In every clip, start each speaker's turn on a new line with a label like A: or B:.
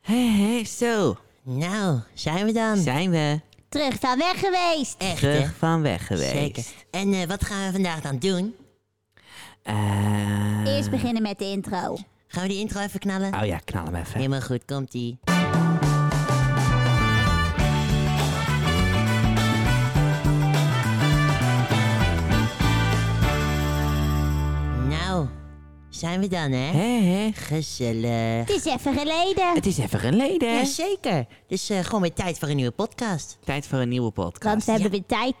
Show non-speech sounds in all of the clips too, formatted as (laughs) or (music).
A: Hé, hé, zo.
B: Nou, zijn we dan.
A: Zijn we
C: Terug van weg geweest.
B: Echt, hè?
A: terug van weg geweest.
B: Zeker. En eh, wat gaan we vandaag dan doen?
A: Eh,
C: Eerst beginnen met de intro.
B: Gaan we die intro even knallen?
A: oh ja, knal hem even.
B: Helemaal goed, komt-ie. Nou, zijn we dan, hè?
A: Hé, hé.
B: Gezellig.
C: Het is even geleden.
A: Het is even geleden. hè?
B: Jazeker. Dus eh, gewoon weer tijd voor een nieuwe podcast.
A: Tijd voor een nieuwe podcast.
C: Want we hebben weer tijd.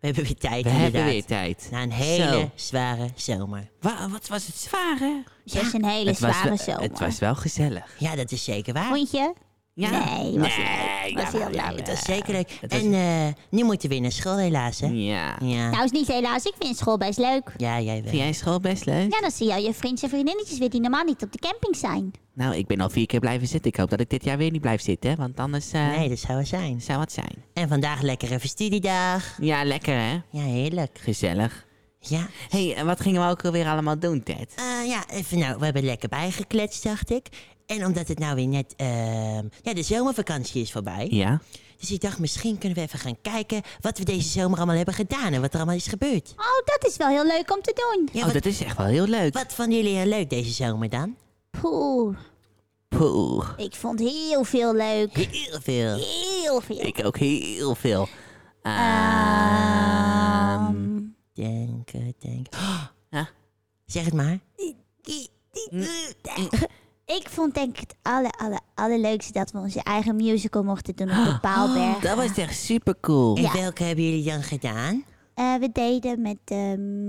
B: We hebben weer tijd,
A: We
B: inderdaad.
A: hebben weer tijd.
B: Na een hele
A: Zo.
B: zware zomer.
A: Wa- wat was het zwaar, hè?
C: Het is een hele
A: was
C: zware
A: wel-
C: zomer.
A: Het was wel gezellig.
B: Ja, dat is zeker waar.
C: Vond je?
A: Ja.
C: Nee, was heel
A: Nee,
C: leuk. Was
A: jawel,
C: heel leuk.
A: jawel.
B: Dat is zeker leuk.
A: Het was-
B: En eh, nu moeten we weer naar school, helaas, hè?
A: Ja.
B: Ja,
C: Nou is niet helaas, ik vind school best leuk.
B: ja jij wel.
A: Vind jij school best leuk?
C: Ja, dan zie je al je vriendjes en vriendinnetjes weer die normaal niet op de camping zijn.
A: Nou, ik ben al vier keer blijven zitten. Ik hoop dat ik dit jaar weer niet blijf zitten, hè, want anders eh,
B: Nee, dat zou het zijn.
A: zou het zijn.
B: En vandaag lekker even studiedag.
A: Ja, lekker, hè?
B: Ja, heerlijk.
A: Gezellig.
B: Ja.
A: Hé, hey, en wat gingen we ook alweer allemaal doen, Ted?
B: Eh, ja, even nou, we hebben lekker bijgekletst, dacht ik. En omdat het nou weer net, ehm, ja, de zomervakantie is voorbij.
A: Ja?
B: Dus ik dacht, misschien kunnen we even gaan kijken wat we deze zomer allemaal hebben gedaan en wat er allemaal is gebeurd.
C: Oh, dat is wel heel leuk om te doen.
B: Ja,
A: oh,
B: wat,
A: dat is echt wel heel leuk.
B: wat vonden jullie heel leuk deze zomer dan?
C: Poeh,
A: Poeh.
C: ik vond heel veel leuk.
B: Heel veel.
C: Heel veel.
A: Ik ook heel veel.
C: Ehm,
B: Denken, denken. Oh,
A: Ja.
B: zeg het maar.
C: ik vond denk ik het aller, aller, allerleukste dat we onze eigen musical mochten doen
A: (gasps)
C: op de Paalberg.
A: Dat was echt super cool.
B: En
C: Ja.
B: welke hebben jullie dan gedaan?
C: Eh, we deden met eh,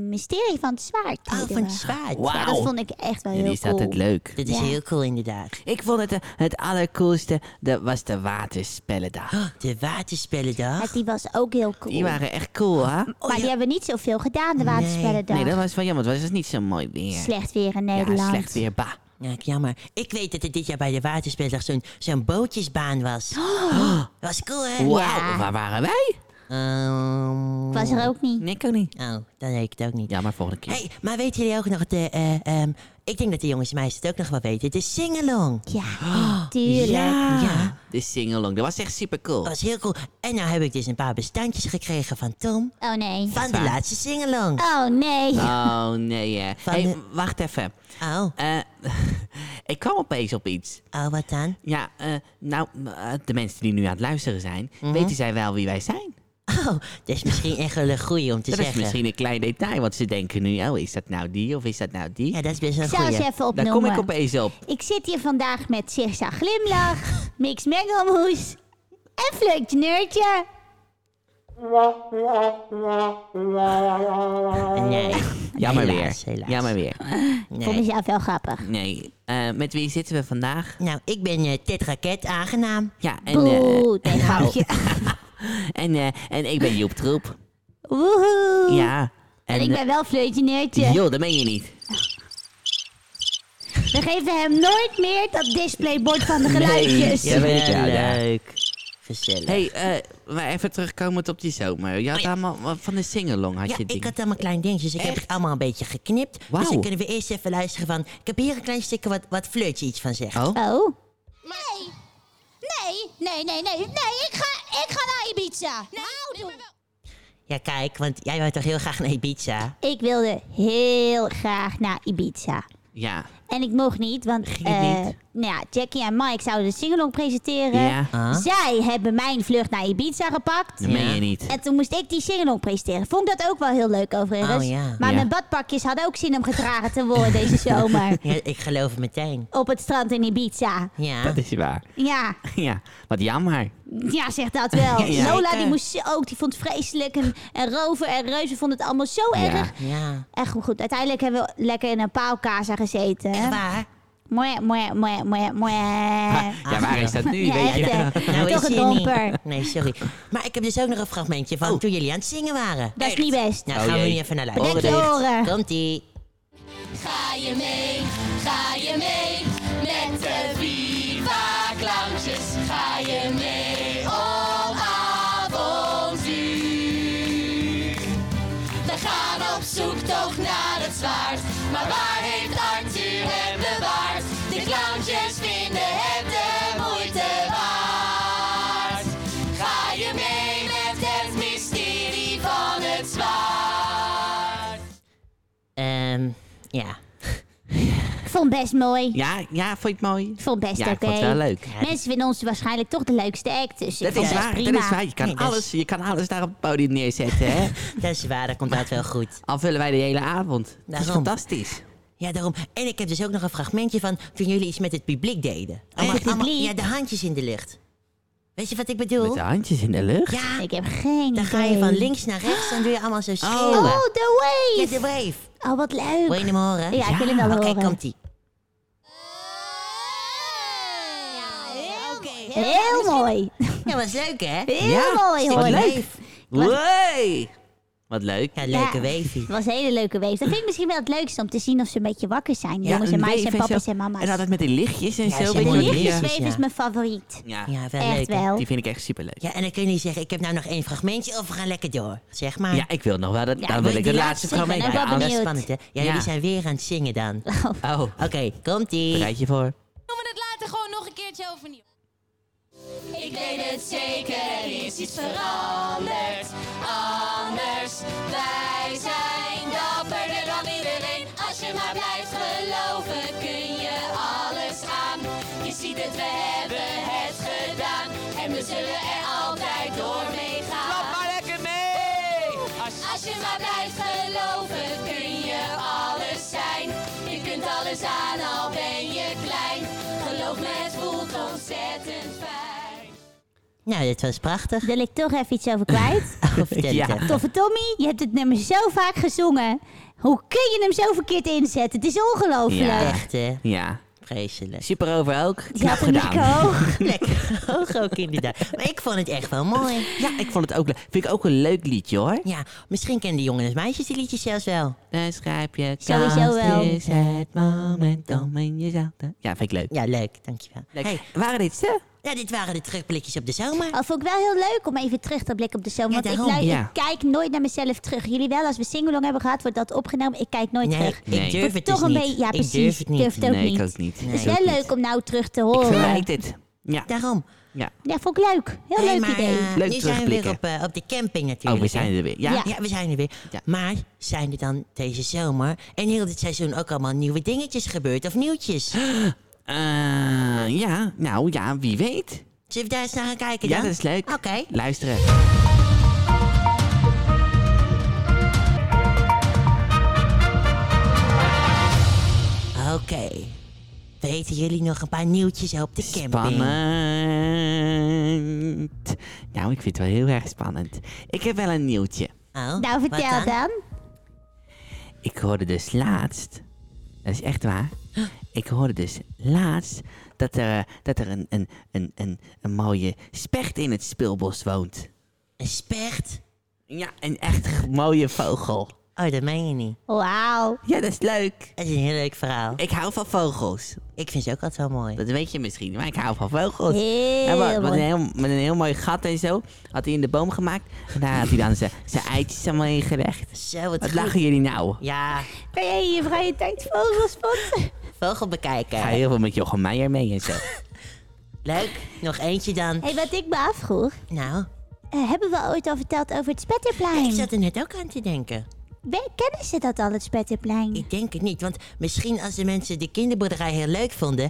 C: Mysterie van het Zwaard.
B: Oh,
C: deden
B: van
C: we.
B: het zwaard.
A: Wauw.
C: Ja, dat vond ik echt wel heel
A: Jullie is
C: cool.
A: altijd leuk.
B: Dat is
C: Ja.
B: heel cool inderdaad.
A: Ik vond het eh, het allercoolste, dat was de waterspellendag.
B: Oh, de waterspellendag.
C: Ja, die was ook heel cool.
A: Die waren echt cool, hè?
C: maar
B: Oh,
C: die hebben niet zoveel gedaan, de waterspellendag.
A: Nee, dat was wel jammer, want het was niet zo mooi weer.
C: Slecht weer in
A: ja,
C: Nederland.
A: slecht weer, bah.
B: Ja, ik- jammer. Ik weet dat er dit jaar bij de waterspellendag zo'n zo'n bootjesbaan was.
C: Oh.
B: Oh, Was cool, hè?
A: Wauw,
C: Ja.
A: waar waren wij?
B: Ehm,
C: Ik was er ook niet.
A: Nee, ik ook niet.
B: Oh, dan weet ik het ook niet.
A: Ja, maar volgende keer.
B: Hey, maar weten jullie ook nog de... eh, ehm, ik denk dat de jongens en meisjes het ook nog wel weten. De singalong.
C: Ja,
A: Oh.
C: tuurlijk.
A: ja.
B: Ja. Oh,
A: De singalong, dat was echt super cool.
B: Dat was heel cool. En nou heb ik dus een paar bestandjes gekregen van Tom.
C: Oh nee.
B: Van de
A: waar?
B: laatste singalong.
C: Oh nee.
A: Oh, nee, hè.
B: Van
A: hey,
B: de-
A: wacht even.
C: Ah.
B: Oh,
A: Eh, (laughs) ik kwam opeens op iets.
B: oh, wat dan?
A: Ja, eh, nou, eh, de mensen die nu aan het luisteren zijn,
B: Mhm.
A: weten zij wel wie wij zijn.
B: Oh, dat is misschien echt wel een goeie om te
A: dat
B: zeggen.
A: is misschien een klein detail, want ze denken nu, oh, is dat nou die of is dat nou die?
B: Ja, dat is best wel
C: Ik
B: een
C: zal
B: goeie.
C: ze even
A: Daar
C: opnoemen.
A: kom ik opeens op.
C: Ik zit hier vandaag met Zigzag Glimlach,
A: (laughs)
C: Mix Mengelmoes en Fleurtje Neurtje.
B: Nee.
A: Jammer
B: Helaas,
A: weer.
B: helaas.
A: Jammer weer.
B: (laughs) Nee.
C: Vond ik zelf wel grappig.
A: Nee. eh, met wie zitten we vandaag?
B: Nou, ik ben eh Ted Raket, aangenaam.
A: Ja, en, eh,
C: Boe, nee, grapje.
A: en, eh, en ik ben Joep Troep.
C: Woehoe.
A: Ja.
C: En ik ben wel Fleurtje
A: eh,
C: Neurtje.
A: joh, dat ben je niet.
C: We geven hem nooit meer dat displaybord van de geluidjes.
A: Nee, ja, weet ik wel, ja.
B: Leuk. Gezellig.
A: Hé, hey, maar even terugkomend op die zomer. Je had
B: Oh ja.
A: allemaal wat van de singalong had
B: ja,
A: je ding.
B: ik had allemaal kleine dingetjes. Ik heb
A: Echt?
B: het allemaal een beetje geknipt. Dus
A: Wauw.
B: dan kunnen we eerst even luisteren van... Ik heb hier een klein stukje wat, wat Fleurtje iets van zegt.
A: Oh,
C: Oh,
D: Nee. Nee, nee, nee, nee. Nee, ik ga, ik ga naar Ibiza. nou, doe.
B: Ja, kijk, want jij wou toch heel graag naar Ibiza?
C: ik wilde heel graag naar Ibiza.
A: ja.
C: En ik mocht niet, want
A: het
C: eh,
A: niet?
C: Nou ja, Jackie en Mike zouden de singalong presenteren.
A: Ja.
B: Ah.
C: Zij hebben mijn vlucht naar Ibiza gepakt.
A: Dat meen je niet.
C: En toen moest ik die singalong presenteren. Vond ik dat ook wel heel leuk overigens.
B: Oh, ja.
C: Maar
A: Ja.
C: mijn badpakjes hadden ook zin om gedragen te worden deze zomer.
B: Ja,
A: (laughs)
B: ik geloof het meteen.
C: Op het strand in Ibiza.
B: Ja.
A: Dat is waar.
C: Ja,
A: Ah. (laughs) Ja, wat jammer.
C: ja zeg dat
A: (laughs)
C: wel.
A: Ja.
C: Lola
B: Zeker.
C: die moest ze ook, die vond het vreselijk. En, en Rover en Reuzen vonden het allemaal zo
A: Ja.
C: erg.
B: Ja.
C: Echt goed. Uiteindelijk hebben we lekker in een paalkaza gezeten. hè?
B: Waar?
C: Mooi, mooi, mooi, mooi, mooi.
A: Ah. ja, waar is (laughs) dat nu?
C: Ja,
A: Weet je?
C: echt, hè?
B: Nou,
C: Toch
B: is
C: een
B: hij niet.
C: domper.
B: Nee, sorry. Maar ik heb dus ook nog een fragmentje van toen jullie aan het zingen waren.
C: Dat is niet best.
B: Nou,
A: Oh,
B: gaan we
A: jee.
B: nu even naar
C: Bedek
B: luisteren.
C: je oren.
B: Komt-ie.
D: Ga je mee, ga je mee. Met de Viva Clownsjes. Ga je mee op avontuur. We gaan op zoektocht naar het zwaard. Maar waar heeft Arthur hem bewaard? De clownsjes vinden het de moeite.
B: Ehm,
C: best mooi.
A: Ja, ja, vond je het mooi?
C: Ik vond het best
A: ja, ik
C: oké.
A: vond het wel leuk.
C: Mensen vinden ons waarschijnlijk toch de leukste act. Dus ik
A: Dat
C: vond
A: is
C: het
A: waar,
C: prima. dus
A: dat is waar. Je kan,
B: Nee, dat is-
A: alles, je kan alles daar op het podium neerzetten, (laughs) hè?
B: Dat is waar, dat komt altijd wel goed.
A: Al vullen wij de hele avond. Dat is
B: Daarom.
A: fantastisch.
B: Ja, daarom. En ik heb dus ook nog een fragmentje van toen jullie iets met het publiek deden. Allemaal-
C: Oh, het
B: allemaal-
C: publiek?
B: ja, de handjes in de lucht. Weet je wat ik bedoel?
A: Met de handjes in de lucht.
B: Ja,
C: Ik heb geen
B: dan
C: idee.
B: ga je van links naar rechts en doe je allemaal zo schreeuwen.
C: Oh, The
B: Ja,
C: Wave.
B: de wave.
C: Oh, wat
B: Wil je
C: leuk.
B: hem horen?
C: Ja, ik wil hem wel
B: Oké,
C: horen.
B: komt-ie.
D: Ja, oké.
C: Heel mooi.
B: Ja, was leuk hè?
C: Heel
A: Ja,
C: mooi
A: wat
C: hoor.
A: leuk. Wee! Wat leuk.
B: Ja, leuke
C: Ja.
B: wavy.
C: Het was een hele leuke weef. Dat vind ik misschien wel het leukste om te zien of ze een beetje wakker zijn. Jongens en
A: een
C: meisjes en
A: wave
C: papa's
A: zo.
C: en mama's.
A: En altijd met die lichtjes en
B: Ja,
A: zo.
B: ze
A: weet je
C: de
B: hebben
A: wel,
B: die
A: die,
B: lichtjes.
A: eh,
C: lichtjesweef
B: ja.
C: is mijn favoriet.
A: Ja,
B: Ja, wel
C: Echt
B: leuk. hè?
C: wel.
A: die vind ik echt superleuk. Ja,
B: Ja, en dan kun je niet zeggen, ik heb nou nog één fragmentje of we gaan lekker door. Zeg maar.
A: ik wil nog wel. Dat,
C: Ja,
A: dan
C: wil
A: wil
C: je
A: ik
C: die
A: het laatste
C: laatste zeggen?
A: fragment.
C: Nou, ik ben
B: dat is
C: benieuwd.
B: spannend hè? Ja,
A: Ja.
B: jullie zijn weer aan het zingen dan. Oké,
A: Oh,
B: komt-ie.
A: bereid je voor.
D: Doen we het later gewoon nog een keertje overnieuw. Ik weet het zeker, er is iets veranderd. Anders, wij zijn dapperder dan iedereen. Als je maar blijft geloven, kun je alles aan. Je ziet het, we hebben het gedaan. En we zullen er altijd door mee gaan. Als je maar blijft geloven, kun je alles zijn. Je kunt alles aan, al ben je klein. Geloof me, het voelt ontzettend fijn.
B: Nou, dit was prachtig.
C: Daar wil ik toch even iets over
B: (laughs)
C: kwijt.
B: Oh, vertel
A: Ja.
B: het even.
C: Toffe Tommy, je hebt het nummer zo vaak gezongen. Hoe kun je hem zo verkeerd inzetten? Het is ongelooflijk.
A: Ja.
B: Echt hè?
A: Ja, (laughs)
B: Vreselijk.
A: super over ook.
C: Je
A: Knap
C: had hem lekker
A: gedaan.
B: (laughs)
C: hoog.
B: Lekker hoog ook inderdaad. Maar ik vond het echt wel mooi.
A: Ja, ik vond het ook leuk. Vind ik ook een leuk liedje hoor.
B: Ja, misschien kennen de jongens en meisjes die liedjes zelfs wel.
A: Dan schrijf je
C: Sowieso
A: kans
C: wel.
A: is het moment om in jezelf te- Ja, vind ik leuk.
B: Ja, leuk, dankjewel.
A: Leuk. Oh,
B: Hey,
A: Waren dit ze?
B: nou, dit waren de terugblikjes op de zomer.
C: Al vond ik wel heel leuk om even terug te blikken op de zomer.
B: Ja,
C: Want ik,
B: daarom.
C: lu-
A: Ja.
C: ik kijk nooit naar mezelf terug. Jullie wel, als we singalong hebben gehad, wordt dat opgenomen. Ik kijk nooit
B: Nee,
C: terug.
B: ik
A: Nee.
B: durf het
C: Toch
B: dus
C: een
B: niet.
C: beetje- ja,
B: ik
C: precies.
B: durf het niet.
C: Durf het ook
A: nee, ik
C: niet.
A: ook niet.
C: Het is
A: Ik ook
C: wel
A: niet.
C: leuk om nou terug te
A: Ik
C: horen.
A: verwijt dit. Ja.
B: Daarom.
A: ja.
C: Ja, vond ik leuk. Heel
B: Hey,
C: leuk
B: maar,
C: idee.
B: eh,
A: Leuk
B: nu zijn we weer
A: terugblikken.
B: op, eh, op de camping natuurlijk.
A: Oh, we
B: hè?
A: zijn er weer. Ja.
B: Ja, we zijn er weer.
A: Ja.
B: Maar zijn er dan deze zomer en heel dit seizoen ook allemaal nieuwe dingetjes gebeurd of nieuwtjes? Zullen
A: Eh, ja, nou ja, wie weet.
B: we daar eens naar gaan kijken dan?
A: Ja, dat is leuk.
B: Oké.
A: Luisteren.
B: Oké. Weten jullie nog een paar nieuwtjes op de camping?
A: Spannend. Nou, ik vind het wel heel erg spannend. Ik heb wel een nieuwtje.
B: Oh,
C: nou,
B: wat
C: vertel dan.
A: Ik hoorde dus laatst. Dat is echt waar. Ik hoorde dus laatst dat er, eh, dat er een, een, een, een, een mooie specht in het speelbos woont.
B: Een specht?
A: Ja, een echt mooie vogel.
B: Oh, dat meen je niet.
C: Wauw.
A: Ja, dat is leuk.
B: Dat is een heel leuk verhaal.
A: Ik hou van vogels.
B: Ik vind ze ook altijd wel mooi.
A: Dat weet je misschien, maar ik hou van vogels.
C: Heel
A: Hij wa- met,
C: mooi.
A: een heel, met een heel mooi gat en zo. Had hij in de boom gemaakt. En daar had hij dan zijn- zijn eitjes allemaal in gelegd.
B: Zo, wat,
A: Wat
B: goed.
A: lachen jullie nou?
B: Ja,
C: Kan jij je vrije tijd vogels spotten?
B: vogel bekijken.
A: Ik ga heel veel met Jochem Meijer mee en zo.
B: Leuk. Nog eentje dan.
C: Hé, (laughs) hey, wat ik me afvroeg.
B: Nou,
C: eh, hebben we ooit al verteld over het
B: ik
C: Spetterplein?
B: zat er net ook aan te denken.
C: We- Kennen ze dat al, het Spetterplein?
B: Ik denk het niet, want misschien als de mensen de kinderboerderij heel leuk vonden,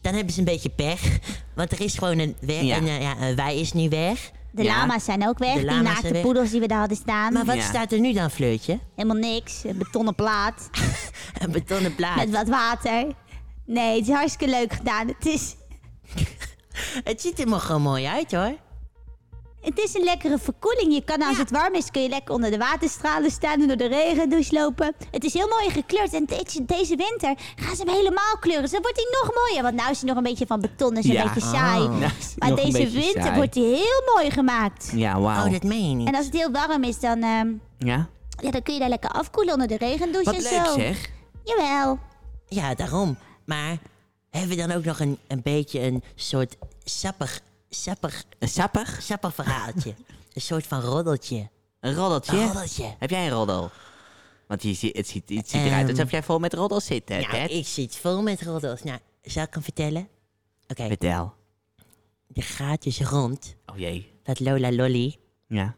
B: dan hebben ze een beetje pech. Want er is gewoon een weg
A: Ja.
B: en eh, ja, een wij is nu weg.
C: De
A: Ja.
C: lama's zijn ook weg.
B: De
C: die
B: lama's
C: naakte
B: zijn weg.
C: poedels die we daar hadden staan.
B: Maar wat
A: Ja.
B: staat er nu dan, Fleurtje?
C: Helemaal niks. Een betonnen plaat.
B: Een betonnen plaat.
C: Met wat water. Nee, het is hartstikke leuk gedaan. Het is,
B: Het ziet er maar gewoon mooi uit, hoor.
C: het is een lekkere verkoeling. Je kan als het warm is, kun je lekker onder de waterstralen staan en door de regendouche lopen. Het is heel mooi gekleurd. En deze, deze winter gaan ze hem helemaal kleuren. Dus dan wordt hij nog mooier. Want nu is hij nog een beetje van beton. Dus een
A: Ja.
C: beetje saai.
B: Oh.
A: (laughs) Nou, is
C: Maar
A: nog een
C: deze
A: beetje
C: winter
A: saai.
C: wordt hij heel mooi gemaakt.
A: Ja, wauw.
B: Oh, dat meen je niet.
C: En als het heel warm is, dan, ehm,
A: Ja?
C: ja, dan kun je daar lekker afkoelen onder de regendouche
A: Wat
C: en
A: leuk
C: zo.
A: zeg.
C: Jawel.
A: (gasps)
B: Ja, daarom. Maar hebben we dan ook nog een, een beetje een soort sappig, sappig,
A: Een sappig.
B: sappig
A: (laughs)
B: verhaaltje? een soort van roddeltje.
A: Een
B: Een
A: roddeltje.
B: roddeltje.
A: Heb jij een roddel? Want je, zie- het ziet, het ziet eruit
B: Ehm.
A: alsof jij vol met roddels zit, hè,
B: Nou,
A: Ted?
B: ik zit vol met roddels. Nou, zal ik hem vertellen? Oké,
A: Vertel.
B: er gaat dus rond
A: Oh jee.
B: dat Lola Lolly
A: Ja.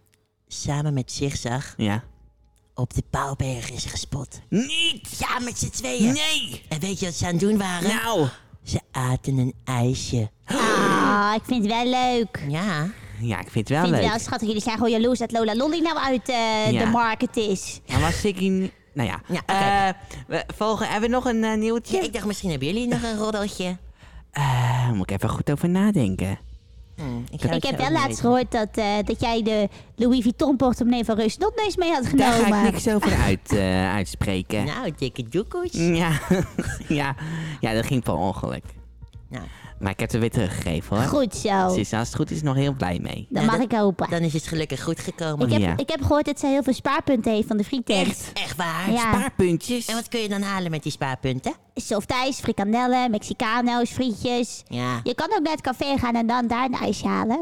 B: samen met Zigzag
A: Ja.
B: op de Pauwberg is gespot.
A: Niet!
B: Ja, met z'n tweeën.
A: Nee!
B: En weet je wat ze aan het doen waren?
A: Nou!
B: Ze aten een ijsje.
C: Ah, ik vind het wel leuk. Ik
B: Ja.
A: Ja, ik vind het wel
C: vind het
A: leuk.
C: wel schattig. Jullie zijn gewoon jaloers dat Lola Lolly nou uit eh,
A: Ja.
C: de market is.
A: Maar was ik in... Nou ja.
B: Ja, oké.
A: Eh, we, volgen, hebben we nog een eh, nieuwtje?
B: ja. Ik dacht, misschien hebben jullie nog een roddeltje.
A: Eh, moet ik even goed over nadenken.
B: Hm, ik,
C: Ik heb wel laatst gehoord dat, eh, dat jij de Louis Vuitton portemonnee van Reus Notneus mee had
A: Daar ga ik
C: genomen.
A: niks over uit, eh, uitspreken. Ja.
B: Nou, dikke doekoes.
A: Ja. (laughs) ja. dat ging per ongeluk.
B: Nou,
A: Maar ik heb het weer teruggegeven hoor.
C: Goed zo.
A: Ze is als het goed is nog heel blij mee.
C: Dat
B: Nou,
C: mag
B: dat-
C: ik hopen.
B: dan is het gelukkig goed gekomen.
C: Ik heb,
A: Ja.
C: ik heb gehoord dat zij heel veel spaarpunten heeft van de frietent.
B: Echt waar?
C: Ja.
A: Spaarpuntjes.
B: En wat kun je dan halen met die spaarpunten?
C: Softijs, frikandellen, Mexicano's, frietjes.
B: Ja.
C: Je kan ook naar het café gaan en dan daar een ijsje halen.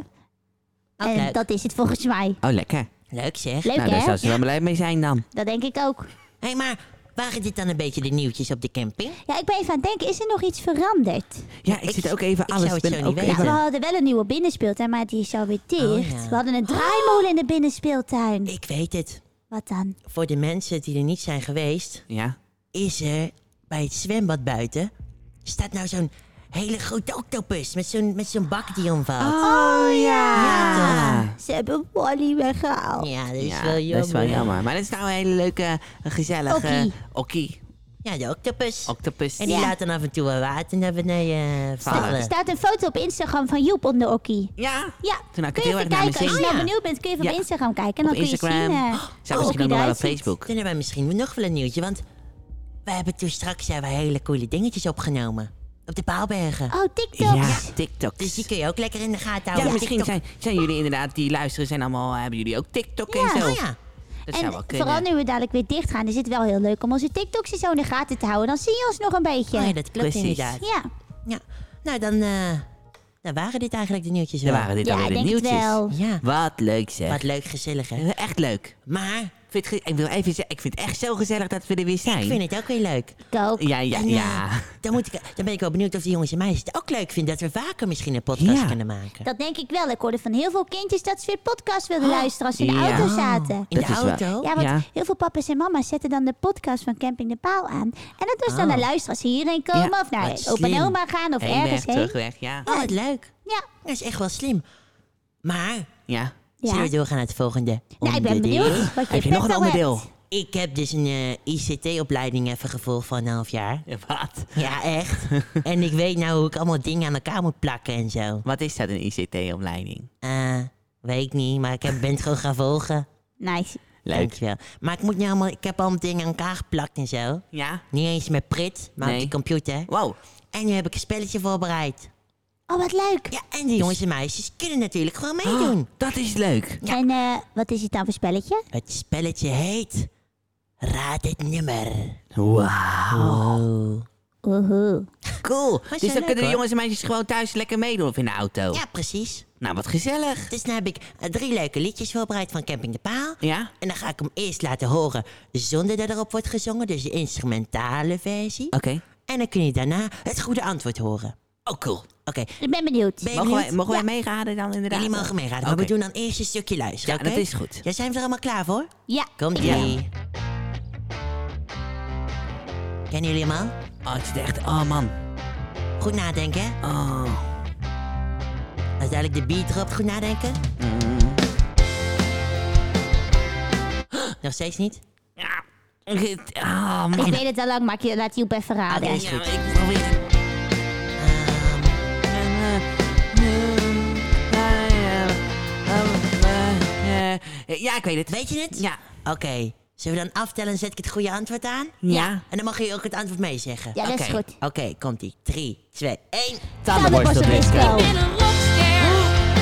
B: Ook
C: en
B: leuk.
C: dat is het volgens mij.
A: Oh, lekker.
B: Leuk zeg.
C: Leuk
A: nou, daar
C: hè?
A: zou ze wel blij mee zijn dan.
C: Dat denk ik ook.
B: Hé, hey, maar waren dit dan een beetje de nieuwtjes op de camping?
C: Ja, ik ben even aan het denken, is er nog iets veranderd?
A: Ja, ik,
B: ik-
A: zit ook even
B: ik
A: alles.
B: zou het
A: ben
B: zo niet
A: ook
B: weten.
A: even-
C: Ja, we hadden wel een nieuwe binnenspeeltuin, maar die is alweer dicht.
B: ja.
C: We hadden een draaimolen in de binnenspeeltuin.
B: Ik weet het.
C: Wat dan?
B: Voor de mensen die er niet zijn geweest,
A: Ja.
B: is er bij het zwembad buiten staat nou zo'n hele grote octopus met zo'n met zo'n bak die omvalt.
A: Oh ja.
B: Ja,
C: Ze hebben Wally weggehaald.
B: Ja, dat is
A: Ja,
B: wel jammer.
A: dat is wel jammer. Maar dat is nou een hele leuke, eh, gezellige...
C: Okkie.
A: Okkie.
B: Ja, de octopus.
A: Octopus.
B: en die
C: Ja.
B: laat dan af en toe wat water naar beneden eh,
C: Er
B: vallen.
C: staat een foto op Instagram van Joep onder Okkie.
A: Ja.
C: Ja,
A: Toen had ik het
C: kun
A: heel erg
C: je even
A: naar mijn
C: kijken.
A: zin.
C: Als je nou
B: Ja.
C: benieuwd bent, kun je even
A: Ja.
C: op Instagram kijken. En dan
A: Op
C: kun je
A: Instagram.
C: zien... eh,
A: Oh,
C: hoe
A: Zou misschien
C: Okkie
A: ook nog wel op
C: eruit ziet.
A: Facebook.
B: Kunnen wij misschien nog wel een nieuwtje, want we hebben toen straks eh, hele coole dingetjes opgenomen. Op de Paalbergen.
C: Oh, TikToks.
A: Ja, TikToks.
B: Dus die kun je ook lekker in de gaten houden.
A: Ja, misschien
B: TikTok.
A: zijn, zijn jullie inderdaad, die luisteren, zijn allemaal, eh, hebben jullie ook TikTok en
B: Ja,
A: zo.
B: oh ja.
A: Dat zou wel
C: En
A: kunnen.
C: vooral nu we dadelijk weer dicht gaan, is het wel heel leuk om onze TikToks zo in de gaten te houden. Dan zie je ons nog een beetje.
B: Oh ja, dat klopt
A: Precies.
B: inderdaad.
C: Ja,
B: Ja. Nou, dan, eh, dan waren dit eigenlijk de nieuwtjes
A: Er
B: wel.
A: waren dit
C: Ja,
A: alweer de
C: ik denk het
A: nieuwtjes.
C: wel.
B: Ja.
A: Wat leuk zeg.
B: Wat leuk, gezellig, hè?
A: Echt leuk.
B: Maar
A: Ik vind, het ge- ik wil even zeggen, ik vind het echt zo gezellig dat we er weer zijn.
B: ik vind het ook weer leuk.
C: ik ook.
A: Ja, ja,
B: En, eh,
A: ja.
B: Dan, moet ik, dan ben ik wel benieuwd of die jongens en meisjes het ook leuk vinden... dat we vaker misschien een podcast
A: Ja.
B: kunnen maken.
C: Dat denk ik wel. Ik hoorde van heel veel kindjes dat ze weer podcast wilden luisteren als ze in de
A: Oh. Ja.
C: auto zaten.
B: in
A: dat
B: de
A: is wel-
B: auto?
C: Ja, want
A: Ja.
C: heel veel papa's en mama's zetten dan de podcast van Camping de Paal aan. En dat was dan naar luisteren als ze hierheen komen
A: Ja,
C: of naar
B: wat
C: opa
B: slim.
C: en oma gaan of
A: Heen, weg,
C: ergens heen.
A: terug, weg, ja.
B: Oh, wat leuk.
C: Ja,
B: Dat is echt wel slim. Maar,
A: Ja.
B: zullen
C: ja.
B: we doorgaan naar het volgende
C: Nou, ik ben
B: onderdeel?
C: benieuwd wat je,
A: Heb je nog
C: vet
A: een
C: al hebt.
A: onderdeel?
B: Ik heb dus een ICT-opleiding even gevolgd van een half jaar.
A: Ja, (laughs) Wat?
B: Ja,
A: (laughs)
B: echt. en ik weet nou hoe ik allemaal dingen aan elkaar moet plakken en zo.
A: Wat is dat, een ICT-opleiding?
B: Eh, weet ik niet, maar ik heb, ben het gewoon gaan volgen.
C: Nice.
A: Leuk.
B: Dankjewel. Maar ik moet nu allemaal, ik heb allemaal dingen aan elkaar geplakt en zo.
A: Ja?
B: Niet eens met prit, maar
A: Nee.
B: op de computer.
A: Wow.
B: En nu heb ik een spelletje voorbereid.
C: Oh, wat leuk.
B: Ja, en de jongens en meisjes kunnen natuurlijk gewoon meedoen.
A: Oh, Dat is leuk.
C: En eh, wat is het dan voor spelletje?
B: Het spelletje heet Raad het nummer.
A: Wauw.
B: Oh.
C: Oehoe.
A: Cool. Dus dan
B: wel leuk,
A: kunnen de
B: hoor.
A: jongens en meisjes gewoon thuis lekker meedoen of in de auto.
B: Ja, precies.
A: Nou, wat gezellig.
B: Dus nu heb ik eh, drie leuke liedjes voorbereid van Camping de Paal.
A: Ja?
B: En dan ga ik hem eerst laten horen zonder dat erop wordt gezongen. Dus de instrumentale versie.
A: Oké.
B: En dan kun je daarna het goede antwoord horen.
A: Oh, cool.
B: Oké,
C: Ik ben benieuwd.
B: Ben je
A: Mogen, wij,
B: benieuwd?
A: mogen wij meegaden dan inderdaad?
B: Jullie mogen meeraden, maar
A: Oké.
B: we doen dan eerst een stukje luisteren.
A: Ja,
B: oké?
A: dat is goed.
B: Ja, zijn we er allemaal klaar voor?
C: Ja.
B: Komt
C: ik
B: ie.
C: wel.
B: Kennen jullie hem al?
A: Oh, het is echt... Oh, man.
B: Goed nadenken. hè?
A: Oh.
B: Als dadelijk de beat erop, goed nadenken.
A: Mm.
B: Nog steeds niet?
A: Ja. Ik- Ah, man.
C: Ik weet het al lang, maar ik laat Joep even raden.
B: Oké.
A: Ja, ik probeer het.
B: Ehm,
A: eh. Ja, ik weet het.
B: weet je het?
A: Ja.
B: Oké. Zullen we dan aftellen en zet ik het goede antwoord aan?
A: Ja.
B: En dan mag je ook het antwoord meezeggen.
C: Ja, dat is
A: Oké.
C: goed.
B: Oké, komt-ie. 3, 2, 1.
C: Tandenborstel
D: Ik ben een rockster.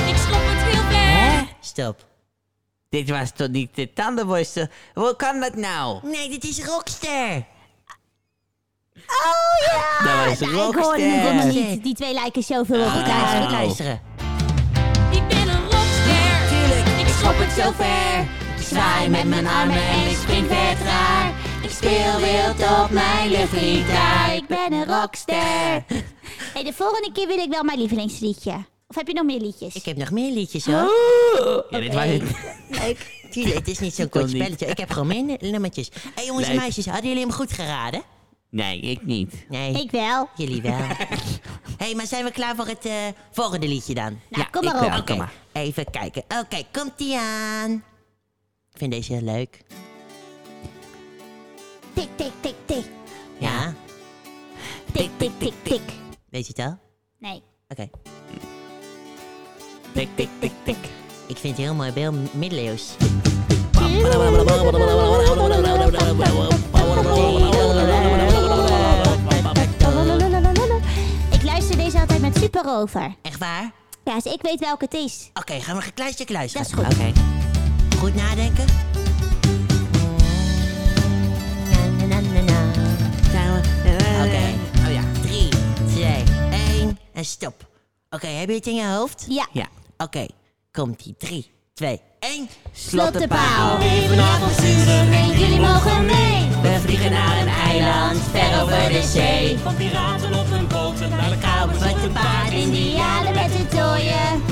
D: Ik schop het heel ver.
B: Stop.
A: Dit was toch niet de tandenborstel? Hoe kan dat nou?
B: Nee, dit is Rockster.
A: dat was
C: Ja, ik hoorde het
A: rockster.
C: helemaal niet. Die twee lijken zoveel op
B: Goed
C: elkaar.
B: luisteren,
A: Oh.
B: goed luisteren.
D: Ik ben een rockster. Ik schop het zo ver. Ik
C: zwaai met mijn armen en ik spring vet raar. Ik speel wild op mijn luchtgitaar. Ik ben een rockster. (laughs) Hey, de volgende keer wil ik wel mijn lievelingsliedje. Of heb je nog meer liedjes?
B: Ik heb nog meer liedjes hoor.
A: Ja, dit was het.
C: Leuk.
B: Tuurlijk, het is niet zo'n
A: Kan
B: kort
A: niet.
B: spelletje. Ik heb gewoon mijn nummertjes. Hé hey, jongens en
A: Leuk.
B: meisjes, hadden jullie hem goed geraden?
A: Nee, ik niet.
B: Nee,
C: Ik wel.
B: jullie wel. Hé, hey, maar zijn we klaar voor het eh, volgende liedje dan?
A: Ja,
C: Nou, kom
A: ik
C: maar
A: wel.
C: op.
B: Oké,
A: kom maar.
B: even kijken. Oké, komt die aan. Ik vind deze heel leuk.
C: Tik, tik, tik, tik.
B: Ja,
C: Tik, tik, tik, tik.
B: weet je het al? Oké.
C: Nee.
A: Tik, tik, tik, tik.
B: Ik vind het heel mooi, heel middeleeuws.
C: Ik luister deze altijd met super over.
B: Echt waar? Oké,
C: Ja, dus ik weet welke het is.
B: gaan we nog een klein stukje luisteren?
C: Dat is
B: Oké. Goed nadenken.
C: Na, na, na, na.
B: Oké.
A: Oh ja.
B: 3, 2, 1 en stop. Oké, heb je het in je hoofd?
C: Ja.
A: Ja.
B: Oké, komt die. 3, 2, 1.
C: Slot de paal.
D: Even avonturen en jullie mogen mee.
B: We vliegen naar een eiland, ver over de zee.
E: Van piraten op hun boten naar de
B: Kauwen
E: kabels
B: met de paard in die
C: Indianen met de dooien.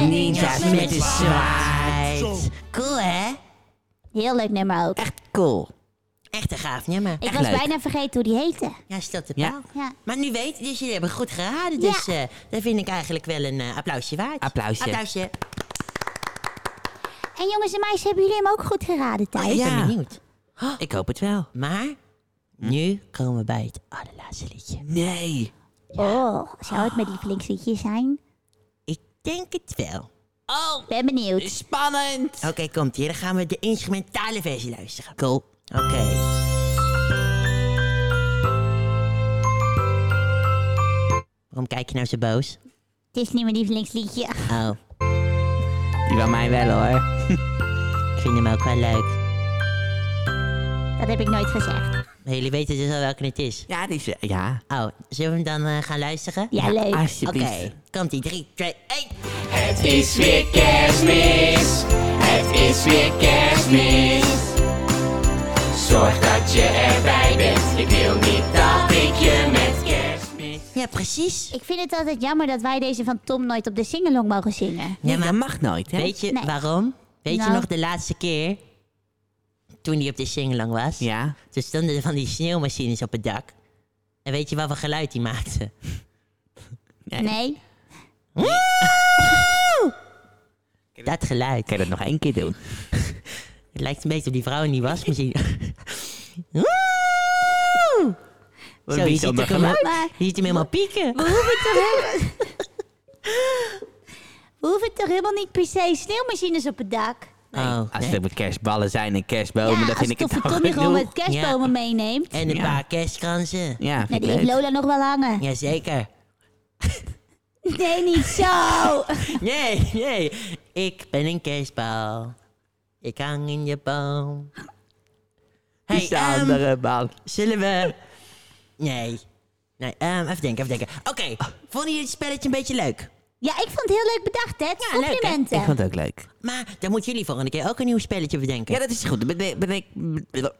A: En ninja's met een
B: zwaard. Cool, hè?
C: Heel leuk nummer ook.
A: Echt cool.
B: Echt een gaaf nummer.
C: Ik
A: echt
C: was
A: leuk.
C: bijna vergeten hoe die heette.
B: Ja, stelt de
A: Ja.
B: paal.
C: Ja.
B: Maar nu weet dus jullie hebben goed geraden.
C: Ja.
B: Dus eh dat vind ik eigenlijk wel een eh, applausje waard.
A: Applausje.
B: Applausje.
C: En jongens en meisjes, hebben jullie hem ook goed geraden thuis?
B: Ik
A: Oh, Ja.
B: ben benieuwd.
A: Ik hoop het wel.
B: Maar nu komen we bij het allerlaatste liedje.
A: Nee.
C: Oh, zou het mijn lievelingsliedje zijn?
B: Ik denk het wel.
C: Ik ben benieuwd.
A: Spannend.
B: Oké, komt hier. Dan gaan we de instrumentale versie luisteren. Cool. Oké. Waarom kijk je nou zo boos?
C: Het is niet mijn lievelingsliedje.
B: Oh,
A: Die van mij wel hoor.
B: ik vind hem ook wel leuk.
C: Dat heb ik nooit gezegd.
B: Maar jullie weten dus al welke het is.
A: Ja, die is... Ja.
B: Oh, zullen we hem dan eh, gaan luisteren?
C: Ja, leuk.
B: Oké,
A: Alsjeblieft.
B: komt ie. 3, 2, 1.
E: Het is weer kerstmis. Het is weer kerstmis. Zorg dat je erbij bent. Ik wil niet dat ik je met kerstmis.
B: Ja, precies.
C: Ik vind het altijd jammer dat wij deze van Tom nooit op de singalong mogen zingen.
A: Nee, dat mag nooit, hè?
B: Weet je
C: Nee.
B: waarom? Weet
C: Nou.
B: je nog de laatste keer? Toen hij op de singelang was.
A: Ja.
B: Toen stonden er van die sneeuwmachines op het dak. En weet je wat voor geluid die maakte?
C: Nee?
B: Dat geluid.
A: Kan je dat nog één keer doen?
B: Het lijkt een beetje op die vrouw in die wasmachine. (laughs)
A: Wat
B: Zo, je ziet,
A: bijzonder
B: hem helemaal-
C: geluid.
B: je ziet hem helemaal pieken. Oh,
C: We hoeven toch helemaal niet per se sneeuwmachines op het dak?
B: Oh,
A: Als
B: nee.
A: het met kerstballen zijn en kerstbomen,
C: ja,
A: dan
C: als
A: vind ik het
C: Toffe
A: al
C: Connie gewoon
A: genoeg.
C: met kerstbomen meeneemt.
B: En een
A: Ja.
B: paar kerstkransen.
A: Ja,
C: Nee,
A: vind
C: die
A: ik
C: heeft
A: leuk.
C: Lola nog wel hangen.
B: Jazeker.
C: Nee, niet
A: (laughs)
C: zo.
B: Nee, nee. Ik ben een kerstbal. Ik hang in je boom.
A: Die is de
B: ehm,
A: andere man.
B: Zullen we... Nee. Nee, ehm, even denken, even denken. Oké,
A: Ah.
B: vonden jullie het spelletje een beetje leuk?
C: Ja, ik vond het heel leuk bedacht, hè?
B: leuk, hè?
C: Complimenten.
A: Ik vond het ook leuk.
B: Maar dan moeten jullie volgende keer ook een nieuw spelletje bedenken.
A: Ja, dat is goed. Bede- Bedenk, bedenk,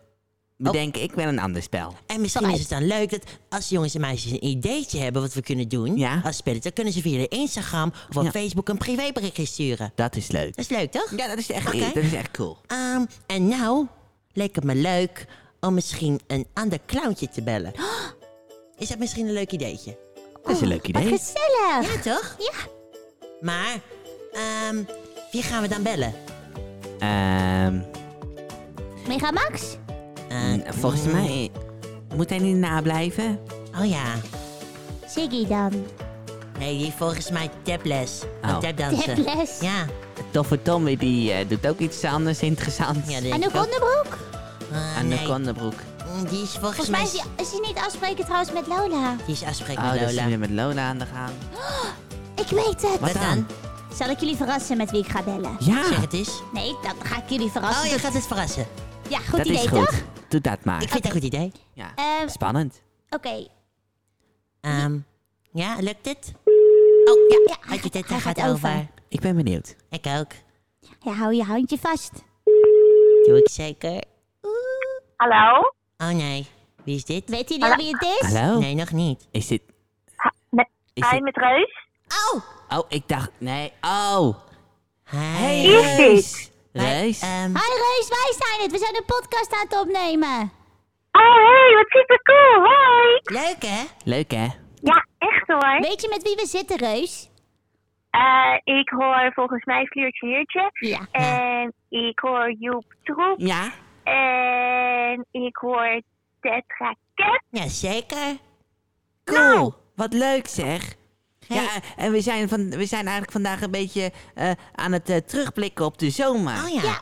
A: bedenk ik wel een ander spel.
B: En misschien is het dan leuk dat als jongens en meisjes een ideetje hebben wat we kunnen doen
A: Ja.
B: als spelletje, dan kunnen ze via de Instagram of op
A: Ja.
B: Facebook een privéberichtje sturen.
A: Dat is leuk.
B: Dat is leuk, toch?
A: Ja, dat is echt,
B: Oké.
A: dat is echt cool.
B: Ehm, en nou leek het me leuk om misschien een ander clowntje te bellen.
A: Oh.
B: Is dat misschien een leuk ideetje?
A: Dat is een leuk
C: Wat
A: idee.
C: gezellig.
B: Ja, toch?
C: Ja.
B: Maar, ehm, wie gaan we dan bellen?
A: Ehm,
C: Mega Max?
B: Eh,
A: volgens
B: mm,
A: mij... Moet hij niet nablijven?
B: Oh ja.
C: Ziggy dan.
B: Nee, die volgens mij taples.
A: Oh.
B: Oh. Tapdansen.
C: Taples?
B: Ja.
A: Toffe Tommy die eh, doet ook iets anders interessants.
B: ja
A: Ja,
B: denk
C: En
B: ik
C: ook
B: ook.
C: onderbroek?
B: Ah,
A: Aan
B: nee.
A: de kondenbroek.
B: Mm, Die is volgens,
C: Volgens mij is die, is die niet afspreken trouwens met Lola.
B: Die is afspraak
A: Oh,
B: met
A: dat is
B: Lola.
A: weer met Lola aan de gang.
C: Ik weet het.
A: Wat dan?
C: Zal ik jullie verrassen met wie ik ga bellen?
B: Zeg
A: Ja,
B: het eens.
C: Nee, dan ga ik jullie verrassen.
B: Oh, je gaat Ah. het verrassen.
C: Ja, goed
A: dat
C: idee,
A: is
C: toch?
A: goed. Doe dat maar.
B: Ik vind het een goed idee.
A: Ja.
C: Ehm,
A: Spannend.
C: Oké.
B: Ehm, ja, lukt het? Oh, ja.
C: Ja,
B: Had je dit,
C: hij
B: daar
C: gaat
B: gaat over.
C: over.
A: Ik ben benieuwd.
B: Ik ook.
C: Ja, hou je handje vast.
B: Doe ik zeker.
F: Hallo?
B: Oh nee. Wie is dit? Oh.
C: Weet jullie al wie het is?
A: Hallo?
B: Nee, nog niet.
A: Is dit...
F: Met,
A: Is
F: hi,
A: het-
F: met Reus?
C: Oh,
A: Oh, ik dacht... Nee. Oh.
B: Hi.
A: Reus. Reis?
B: Ehm,
C: Hi Reus, wij zijn het. We zijn een podcast aan het opnemen.
F: Oh, hey, wat super cool. Hoi.
B: leuk hè?
A: Leuk hè?
F: Ja, echt hoor.
C: Weet je met wie we zitten, Reus?
F: Eh, ik hoor volgens mij Fleurtje Heertje.
C: Ja.
F: En ik hoor Joep Troep.
A: Ja.
F: En ik hoor Tetra Cat.
B: Jazeker.
A: Cool. Wat leuk zeg. Ja, en we zijn, van, we zijn eigenlijk vandaag een beetje eh, aan het eh, terugblikken op de zomer.
B: Oh ja.
C: Ja.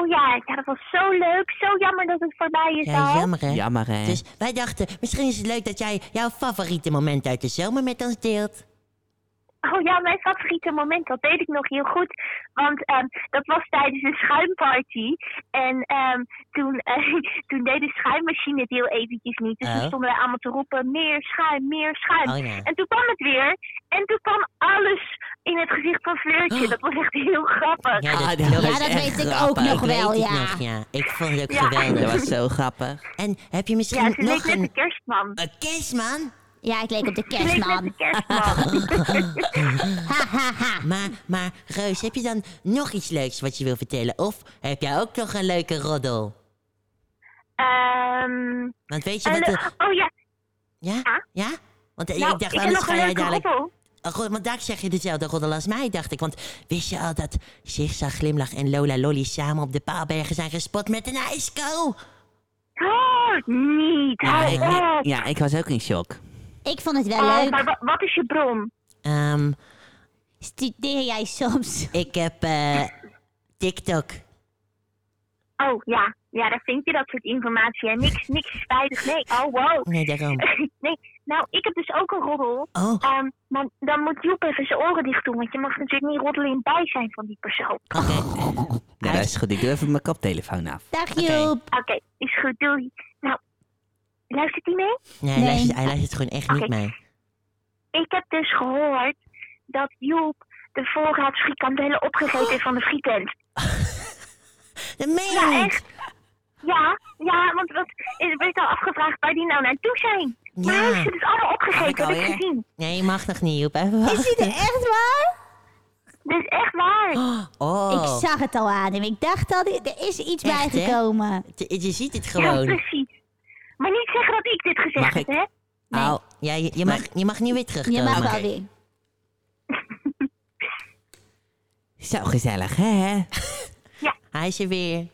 F: Oh ja, ja, dat was zo leuk. Zo jammer dat het voorbij is
B: Ja,
F: al.
B: jammer hè?
A: Jammer hè?
B: Dus wij dachten, misschien is het leuk dat jij jouw favoriete moment uit de zomer met ons deelt.
F: Oh ja, mijn favoriete moment, dat weet ik nog heel goed. Want ehm, dat was tijdens een schuimparty. En ehm, toen, (laughs) eh, toen deed de schuimmachine het heel eventjes niet. Dus
B: Oh.
F: toen stonden wij allemaal te roepen, meer schuim, meer schuim.
B: Oh ja.
F: En toen kwam het weer. En toen kwam alles in het gezicht van Fleurtje. Dat was echt heel grappig.
B: Oh. Ja, dat,
A: Ah,
B: klopt.
A: was
C: Ja, dat
A: echt
C: weet ik
A: grappig.
C: ook nog
B: Ik
C: wel,
B: weet het
C: ja.
B: nog, ja. Ik vond het ook
F: Ja.
A: Dat
B: geweldig.
A: was zo grappig.
B: En heb je
F: Ja,
B: misschien
F: ze leek
B: nog
F: net de
B: een...
F: kerstman.
B: Een kerstman?
C: Ja, ik leek op de
F: Ze leek net de
C: kerstman.
F: kerstman.
C: Ha, ha, ha.
B: Maar, maar Reus, heb je dan nog iets leuks wat je wil vertellen? Of heb jij ook nog een leuke roddel?
F: Ehm,
B: Want weet je
F: en
B: wat...
F: le-
B: de-
F: oh ja,
B: ja? Ja? Want eh,
F: nou,
B: ik dacht,
F: ik heb
B: anders
F: nog
B: ga
F: een
B: jij
F: leuke
B: dadelijk...
F: roddel.
B: Oh, goed, want daar zeg je dezelfde roddel als mij, dacht ik. Want wist je al dat Zigzag Glimlach en Lola Lolly samen op de Paalbergen zijn gespot met een ijsko?
F: Oh, niet.
A: Ja
F: Hou
A: ik,
F: op.
A: ja, ik was ook in shock.
C: Ik vond het wel
F: Oh,
C: leuk.
F: maar wa- wat is je bron?
B: Ehm,
C: Studeer jij soms?
B: ik heb eh, TikTok.
F: Oh ja, ja, daar vind je dat soort informatie. En niks, niks is veilig. Nee, oh wow. (laughs)
B: Nee, daarom.
F: Nee, nou, ik heb dus ook een roddel.
B: Oh, oké.
F: Ehm, maar dan moet Joep even zijn oren dicht doen. Want je mag natuurlijk niet roddelen in het bijzijn van die persoon. Oké,
A: Nee, dat is goed. Ik doe even mijn koptelefoon af.
C: Dag Joep.
F: is goed. Doei. Nou, luistert hij mee?
B: Nee,
C: Nee.
B: Hij, luistert, hij luistert gewoon echt niet
F: Oké.
B: mee.
F: Ik heb dus gehoord dat Joep de voorraad frikandellen opgegeten heeft van de frietent.
B: Dat meen je
F: Ja,
B: niet.
F: echt? Ja, ja, want wat, er werd al afgevraagd waar die nou naartoe zijn. Maar
B: Ja.
F: hij heeft ze dus allemaal opgegeten, dat heb ik
A: alweer.
F: gezien.
B: Nee, je mag nog niet, Joep. Even
C: Is hij
B: wachten.
C: er
A: (laughs)
C: echt waar?
F: Dat is echt waar.
B: Oh,
C: Ik zag het al aan hem. Ik dacht al, er is iets
B: Echt, hè?
C: bijgekomen.
B: je, je ziet het
F: Ja,
B: gewoon.
F: precies. Maar niet zeggen dat ik dit gezegd
A: Oh, Mag ik?
F: heb, hè?
B: Au, ja, je, je, mag, je mag niet weer terugkomen.
C: Je mag wel
B: eh, Oké.
C: weer.
A: Zo gezellig hè?
B: Hij is er weer.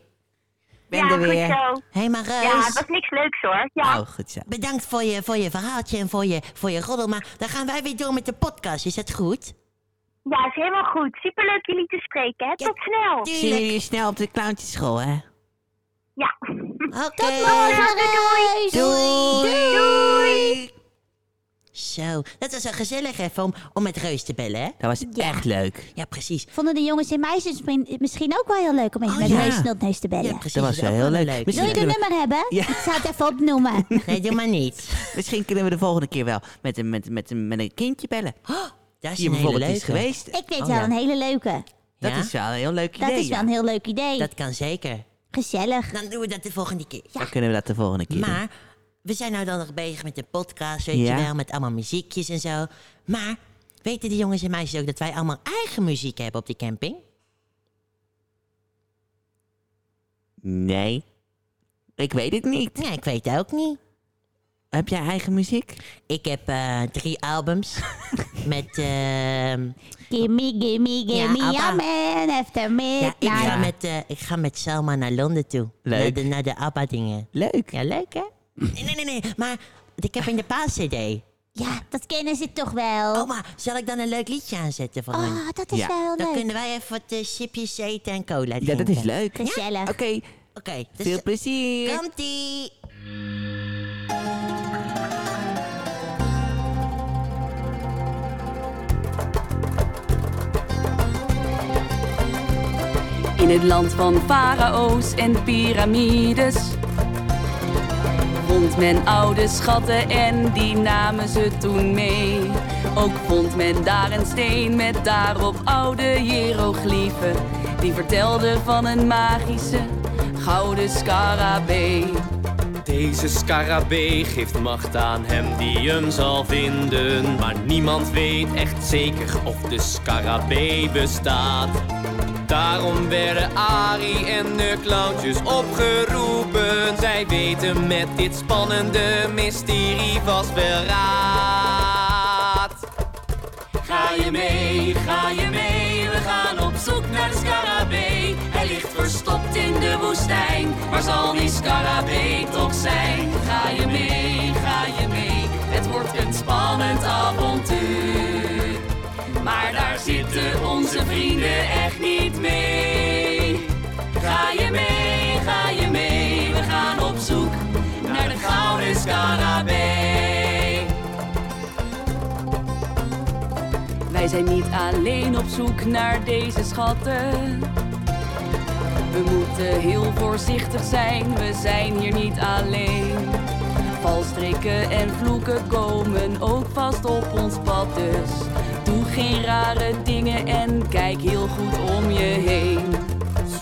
A: Ben
F: ja,
A: er weer.
F: goed zo.
B: Hé, maar
F: Ja,
B: Reus,
F: het was niks leuks hoor. Ja,
A: Oh, goed zo.
B: bedankt voor je, voor je verhaaltje en voor je, voor je roddel. Maar dan gaan wij weer door met de podcast. Is dat goed?
F: ja, is helemaal goed. Superleuk jullie te spreken, hè? Tot snel.
A: Zien jullie je snel op de clowntjeschool hè?
F: Ja.
B: Oké.
C: Morgen Reus.
A: Doei!
B: Zo, dat was wel gezellig even om, om met Reus te bellen, hè?
A: Dat was echt leuk.
B: Ja, precies.
C: Vonden de jongens en meisjes misschien- misschien ook wel heel leuk om eens
B: Oh,
C: met
B: ja.
C: Reus Snotneus te
B: Ja,
C: bellen?
B: precies.
A: Dat was
B: is
A: wel
B: ook
A: heel
B: een
A: leuk.
B: leuke.
A: Misschien-
C: Wil je de nummer hebben?
A: Ja.
C: Ik zou het even
B: (laughs)
C: opnoemen.
B: Nee, doe maar niet.
A: Misschien kunnen we de volgende keer wel met een, met, met een, met een kindje bellen.
B: Dat is
A: Die
B: een hele
A: bijvoorbeeld
B: leuke.
A: is geweest.
C: Ik weet
B: Oh,
C: wel
B: ja.
C: een hele leuke.
A: Dat
B: Ja?
A: is wel een heel leuk idee.
C: Dat is wel
A: ja.
C: een heel leuk idee.
B: Dat kan zeker.
C: Gezellig.
B: Dan doen we dat de volgende keer.
A: Dan kunnen we dat de volgende keer doen.
B: Maar we zijn nou dan nog bezig met de podcast, weet
A: Ja.
B: je wel, met allemaal muziekjes en zo. Maar weten die jongens en meisjes ook dat wij allemaal eigen muziek hebben op die camping?
A: Nee. Ik weet het niet.
B: Nee, ik weet het ook niet.
A: Heb jij eigen muziek?
B: Ik heb eh, drie
A: (laughs)
B: albums met... ehm,
C: Gimme, gimme, gimme,
B: Ja,
C: ja,
B: ABBA.
C: man, after
B: ja, ik,
C: midnight.
B: Ga met, eh, ik ga met Selma naar Londen toe.
A: Leuk.
B: Naar de, naar de ABBA-dingen.
A: Leuk.
B: Ja, leuk hè? Nee, nee, nee, nee. Maar ik heb in de paas-cd.
C: Ja, dat kennen ze toch wel.
B: Oh, maar zal ik dan een leuk liedje aanzetten voor hen?
C: Oh, dat is
A: Ja.
C: wel
B: Dan
C: leuk.
B: kunnen wij even wat eh, chipjes eten en cola drinken.
A: Ja, dat is leuk.
C: Gezellig.
A: Oké,
B: Oké, dus
A: veel plezier.
B: komt-ie.
G: In het land van farao's en piramides Vond men oude schatten en die namen ze toen mee Ook vond men daar een steen met daarop oude hiërogliefen Die vertelde van een magische gouden scarabee
H: Deze scarabee geeft macht aan hem die hem zal vinden. Maar niemand weet echt zeker of de scarabee bestaat. Daarom werden Ari en de clowntjes opgeroepen. Zij weten met dit spannende mysterie vast wel raad. Ga je mee, ga je mee, we gaan op zoek naar de scarabee. Hij ligt verstopt in de woestijn, waar zal die scarabee toch zijn? Ga je mee, ga je mee, het wordt een spannend avontuur. Maar daar zitten onze vrienden echt niet mee. Ga je mee, ga je mee, we gaan op zoek naar de gouden scarabee.
G: Wij zijn niet alleen op zoek naar deze schatten. We moeten heel voorzichtig zijn, we zijn hier niet alleen. Valstrikken en vloeken komen ook vast op ons pad, dus doe geen rare dingen en kijk heel goed om je heen.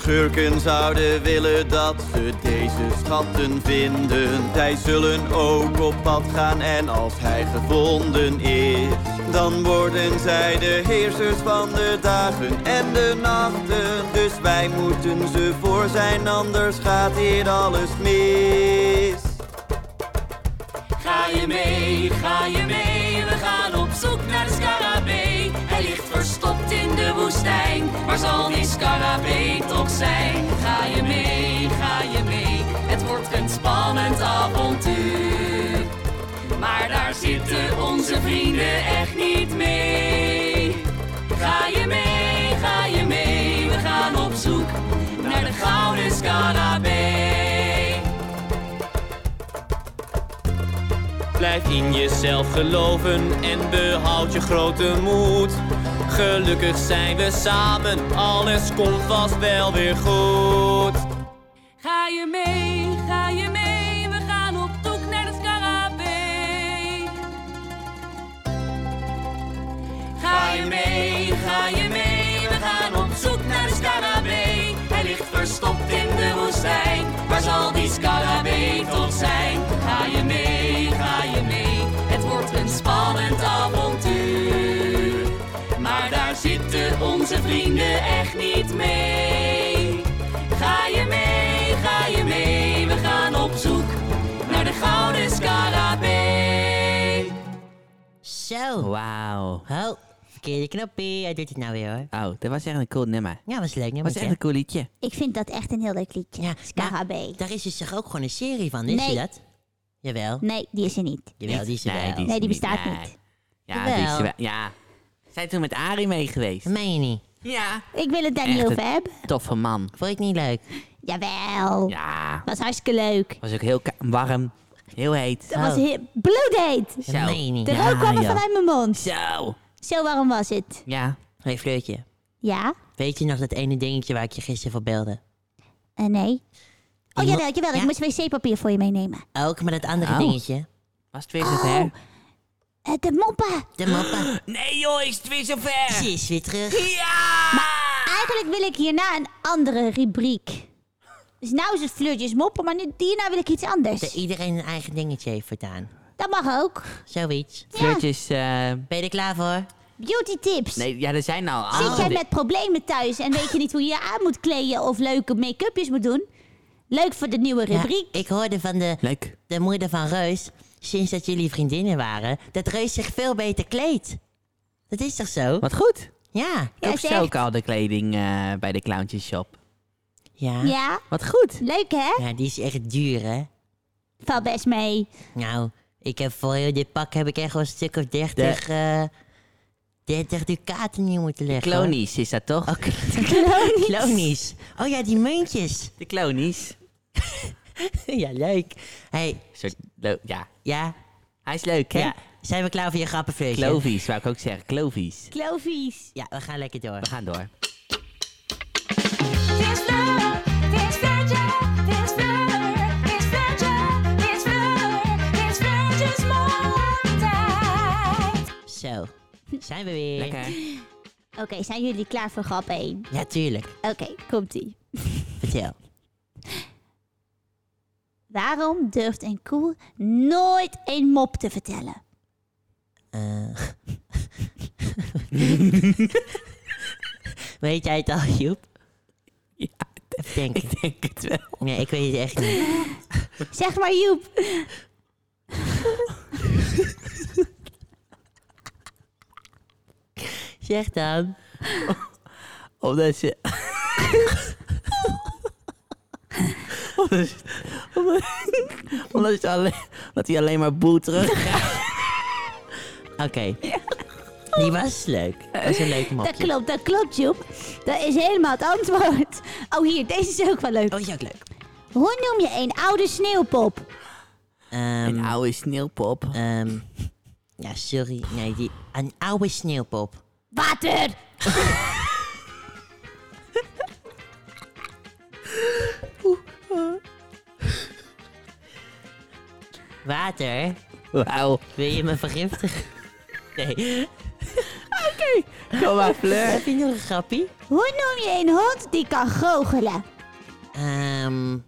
I: Schurken zouden willen dat ze deze schatten vinden. Zij zullen ook op pad gaan en als hij gevonden is, dan worden zij de heersers van de dagen en de nachten. Dus wij moeten ze voor zijn, anders gaat hier alles mis.
H: Ga je mee, ga je mee, we gaan op zoek naar de scarabee. Hij ligt verstopt in de woestijn, waar zal die scarabee toch zijn? Ga je mee, ga je mee, het wordt een spannend avontuur. Maar daar zitten onze vrienden echt niet mee. Ga je mee, ga je mee, we gaan op zoek naar de gouden scarabee. Blijf in jezelf geloven en behoud je grote moed. Gelukkig zijn we samen, alles komt vast wel weer goed.
G: Ga je mee, ga je mee, we gaan op zoek naar de scarabee.
H: Ga je mee, ga je mee, we gaan op zoek naar de scarabee. Hij ligt verstopt in de woestijn, waar zal die scarabee toch zijn? Ga je mee, ga je mee, het wordt een spannend avontuur. Maar daar zitten onze vrienden echt niet mee. Ga je mee, ga je mee, we gaan op zoek naar de gouden scarabee.
A: Oh.
B: Zo.
A: Wauw.
B: Ho, verkeerde knoppie. Hij doet het nou weer hoor.
A: Oh, dat was echt een cool nummer.
B: Ja, was leuk.
A: Dat was echt een cool liedje.
C: Ik vind dat echt een heel leuk liedje.
B: Ja,
C: Scarabee.
B: Daar is dus toch ook gewoon een serie van, is je
C: Nee.
B: dat? Jawel.
C: Nee, die is er niet.
B: Jawel, die is er
A: Nee,
B: wel.
A: die, is
C: Nee, die
A: niet-
C: bestaat
A: nee.
C: niet.
A: Ja, die is
B: Jawel.
A: wel- ja. Zijn toen met Arie mee geweest?
B: Dat meen je niet.
A: Ja.
C: Ik wil het daar niet
A: Echt
C: over
A: een-
C: hebben.
A: Toffe man.
B: Vond je het niet leuk?
C: Jawel.
A: Ja.
C: Was hartstikke leuk.
A: Was ook heel ka- warm. Heel heet.
C: Dat was heel bloedheet.
B: Dat
A: Zo.
B: meen je niet.
A: Oh.
B: Nou,
C: De
A: Ja,
C: rook kwam er
A: joh.
C: vanuit mijn mond.
A: Zo.
C: Zo warm was het.
A: Ja.
B: Hé hey, Fleurtje,
C: Ja?
B: weet je nog dat ene dingetje waar ik je gisteren voor belde?
C: Eh, nee. Oh,
B: Iemand-
C: jawel, jawel.
B: Ja?
C: Ik moest wc-papier voor je meenemen.
B: Ook, maar dat andere
A: Oh.
B: dingetje.
A: Was het weer
C: Oh.
A: zover?
C: Eh, de moppen.
B: De
A: (gasps)
B: moppa.
A: Nee joh, is het weer zover?
B: Ze is weer terug.
A: Ja!
C: Eigenlijk wil ik hierna een andere rubriek. Dus nou is het flirtjes moppen, maar nu, hierna wil ik iets
B: Dat
C: anders.
B: iedereen een eigen dingetje heeft voortaan.
C: Dat mag ook.
B: Zoiets.
A: Flirtjes, eh...
B: Ben je er klaar voor?
C: Beauty tips.
A: nee, Ah, ja, er zijn al
C: Zit
A: andere
C: jij
A: di-
C: met problemen thuis en weet je niet hoe je je aan moet kleden of leuke make-upjes moet doen? Leuk voor de nieuwe
B: Ja,
C: rubriek.
B: ik hoorde van de,
A: Leuk.
B: de moeder van Reus, sinds dat jullie vriendinnen waren, dat Reus zich veel beter kleedt. Dat is toch zo?
A: Wat goed.
B: Ja.
C: Ja,
A: ook
C: is
A: zo ook al de kleding eh, bij de clowntjes shop.
B: Ja. ja.
C: Ja,
A: Wat goed.
C: leuk hè?
B: die is echt duur, hè?
C: Valt best mee.
B: Nou, ik heb voor heel dit pak heb ik echt wel een stuk of 30, eh 30 ducaten neer moeten leggen. hoor.
A: Klonies is dat toch?
B: Oh, (laughs) klonies. Oh ja, die
A: (laughs)
B: muntjes.
A: De klonies.
B: ja, leuk. hey,
A: Soort, lo- ja.
B: ja,
A: Hij is leuk, hè?
B: ja. Zijn we klaar voor je grappenfeestje?
A: Klovies, wou ik ook zeggen. Klovies.
C: Klovies.
B: Ja, we gaan lekker door.
A: We gaan door.
D: Het is Fleur, het is Fleurtje, het is Fleur, het is Fleurtje, het is Fleur, het is Fleurtjes morgentijd.
B: Zo, zijn we weer. (laughs)
A: Lekker.
C: Oké, zijn jullie klaar voor grap 1?
B: Ja, tuurlijk.
C: Oké, komt-ie.
B: Vertel.
C: Waarom durft een koe nooit een mop te vertellen?
B: Eh, Weet jij het al, Joep?
A: Ja,
B: Even denken.
A: ik denk het wel.
B: Nee, ik weet het echt niet.
C: Zeg maar Joep.
B: Zeg dan.
A: Omdat ze... (laughs) omdat, ze- omdat, omdat ze alleen, omdat hij alleen maar boel terug...
B: Oké. Die was leuk. Dat was een leuke mopje.
C: Dat klopt, dat klopt Joep. Dat is helemaal het antwoord. Oh hier, deze is ook wel leuk.
B: Oh, is ook leuk.
C: Hoe noem je een oude sneeuwpop?
B: Ehm,
A: Een oude sneeuwpop.
B: ehm, ja, sorry. Nee, die, een oude sneeuwpop.
C: Water!
B: Water?
A: Wauw.
B: Wil je me
A: (laughs)
B: vergiftigen? Nee.
A: Kom maar, Fleur.
B: Heb je nog een grappie?
C: Hoe noem je een hond die kan goochelen?
B: Ehm,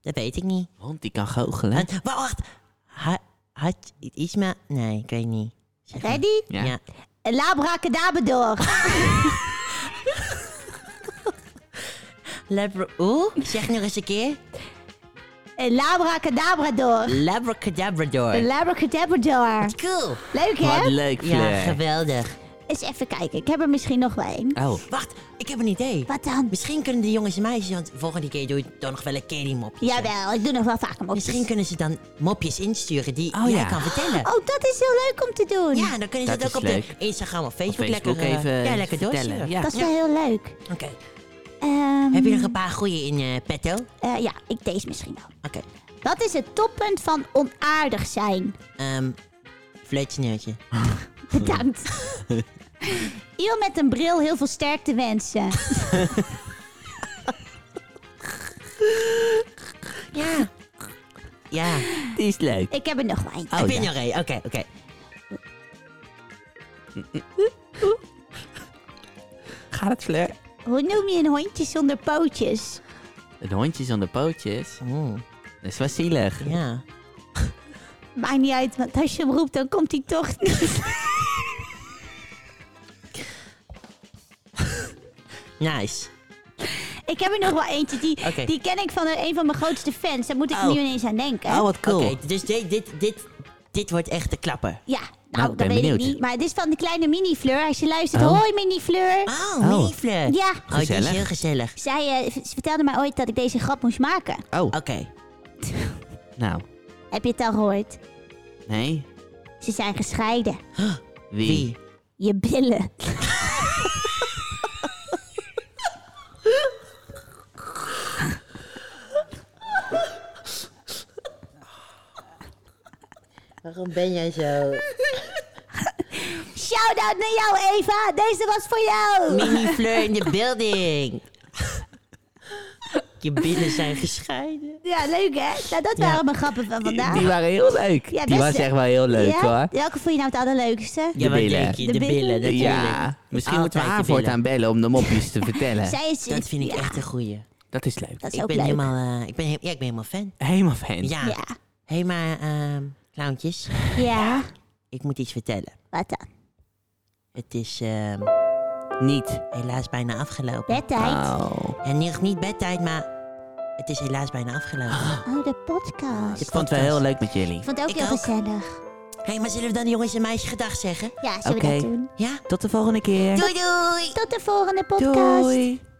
B: dat weet ik niet.
A: Hond die kan goochelen.
B: Een- wa- wacht. Ha, had je iets maar... Nee, ik weet niet. Zeg maar.
C: Ready?
A: Ja.
B: Ja.
C: Een labrakadabador.
B: Labra... Oeh, zeg nog eens een keer.
C: Een labrakadabrador. Een
B: Labracadabrador.
C: labrakadabrador.
B: Cool.
C: Leuk
A: Wat
C: hè?
A: leuk, Fleur.
B: Ja, geweldig.
C: Eens even kijken, ik heb er misschien nog wel één.
A: Oh,
B: Wacht, ik heb een idee.
C: Wat dan?
B: Misschien kunnen de jongens en meisjes, want volgende keer doe je dan nog wel een keer die mopjes. hè?
C: Jawel, ik doe nog wel vaker mopjes.
B: Misschien kunnen ze dan mopjes insturen die
A: Oh,
B: jij
A: ja.
B: kan vertellen.
C: Oh, dat is heel leuk om te doen.
B: Ja, dan kunnen ze
A: Dat
B: het ook op
A: is
B: de
A: leuk.
B: Instagram of Facebook,
A: Facebook
B: lekker, eh,
A: even
B: ja, lekker
A: vertellen.
B: doorsturen.
A: Ja.
C: Dat is wel heel leuk.
B: Oké.
C: Ehm,
B: Heb je nog een paar goeie in eh, petto? Oké.
C: eh, ja, ik deze misschien wel. Wat is het toppunt van onaardig zijn?
B: Ehm Fluitsneertje.
C: Bedankt. Iel met een bril heel veel sterkte wensen.
B: Ja. Ja.
A: die is leuk.
C: Ik heb er nog wel één.
B: Heb je nog één? Oké, oké.
A: Gaat het, Fleur?
C: Hoe noem je een hondje zonder pootjes?
A: Een hondje zonder pootjes.
B: Oeh,
A: Dat is wel zielig.
B: Mm, Ja.
C: Maakt niet uit, want als je hem roept, dan komt hij toch niet.
B: Nice.
C: ik heb er nog wel eentje, die,
B: Oké.
C: die ken ik van een een van mijn grootste fans. Daar moet ik nu ineens aan denken.
A: Oh, wat cool.
B: Oké, dus dit, dit, dit, dit wordt echt de klapper.
C: Ja, nou,
A: Nou,
C: dat
A: ben
C: weet
A: benieuwd.
C: ik niet. Maar het is van de kleine mini-fleur. Als je luistert, hoi mini-fleur.
B: Oh,
A: Oh.
B: Miefle.
C: Ja.
B: Oh, dit is
A: Gezellig.
B: heel gezellig.
C: Zij eh, v- ze vertelde mij ooit dat ik deze grap moest maken.
A: Oh,
B: Oké.
A: nou.
C: Heb je het al gehoord?
A: Nee.
C: Ze zijn gescheiden.
A: Wie?
B: Wie?
C: Je billen.
B: Waarom ben jij zo...
C: Shout-out naar jou, Eva. Deze was voor jou.
B: Mini Fleur in de building. Je billen zijn gescheiden.
C: Ja, leuk hè? Nou, dat waren mijn grappen van vandaag.
B: Nou.
A: Die waren heel leuk.
C: Ja,
A: die
C: best,
A: was
C: hè?
A: echt wel heel leuk
C: Ja?
A: hoor.
C: Welke vond je nou het allerleukste?
B: Ja, wat
A: billen.
B: denk je? De,
C: De
B: billen,
C: billen.
B: natuurlijk.
A: Ja, misschien moeten we
B: Altijd
A: haar
B: je billen.
A: voortaan bellen om de mopjes te vertellen.
C: Zij is,
B: Dat vind ik
C: ja,
B: echt een goeie.
A: Dat is leuk.
C: Dat is
B: Ik
C: ook
B: ben,
C: leuk.
B: helemaal, eh, ik, ben, he- ja, ik ben helemaal fan.
A: Helemaal fan.
B: Ja.
C: Ja.
B: Hé, maar ehm clowntjes,
C: ja.
B: ik moet iets vertellen.
C: Wat dan?
B: Het is ehm,
A: Niet.
B: helaas bijna afgelopen.
C: Bedtijd.
A: Oh.
B: En nog niet bedtijd, maar het is helaas bijna
A: (gasps)
B: afgelopen.
C: Oh, de podcast.
A: Ik vond het wel heel leuk met jullie.
C: Ik vond het ook
B: Ik
C: heel
B: ook.
C: gezellig.
B: Hé, maar zullen we dan de jongens en meisjes gedag zeggen?
C: Ja, zullen
A: Oké.
C: we dat doen?
B: Ja?
A: Tot de volgende keer.
B: Doei doei!
C: Tot de volgende podcast.
A: Doei.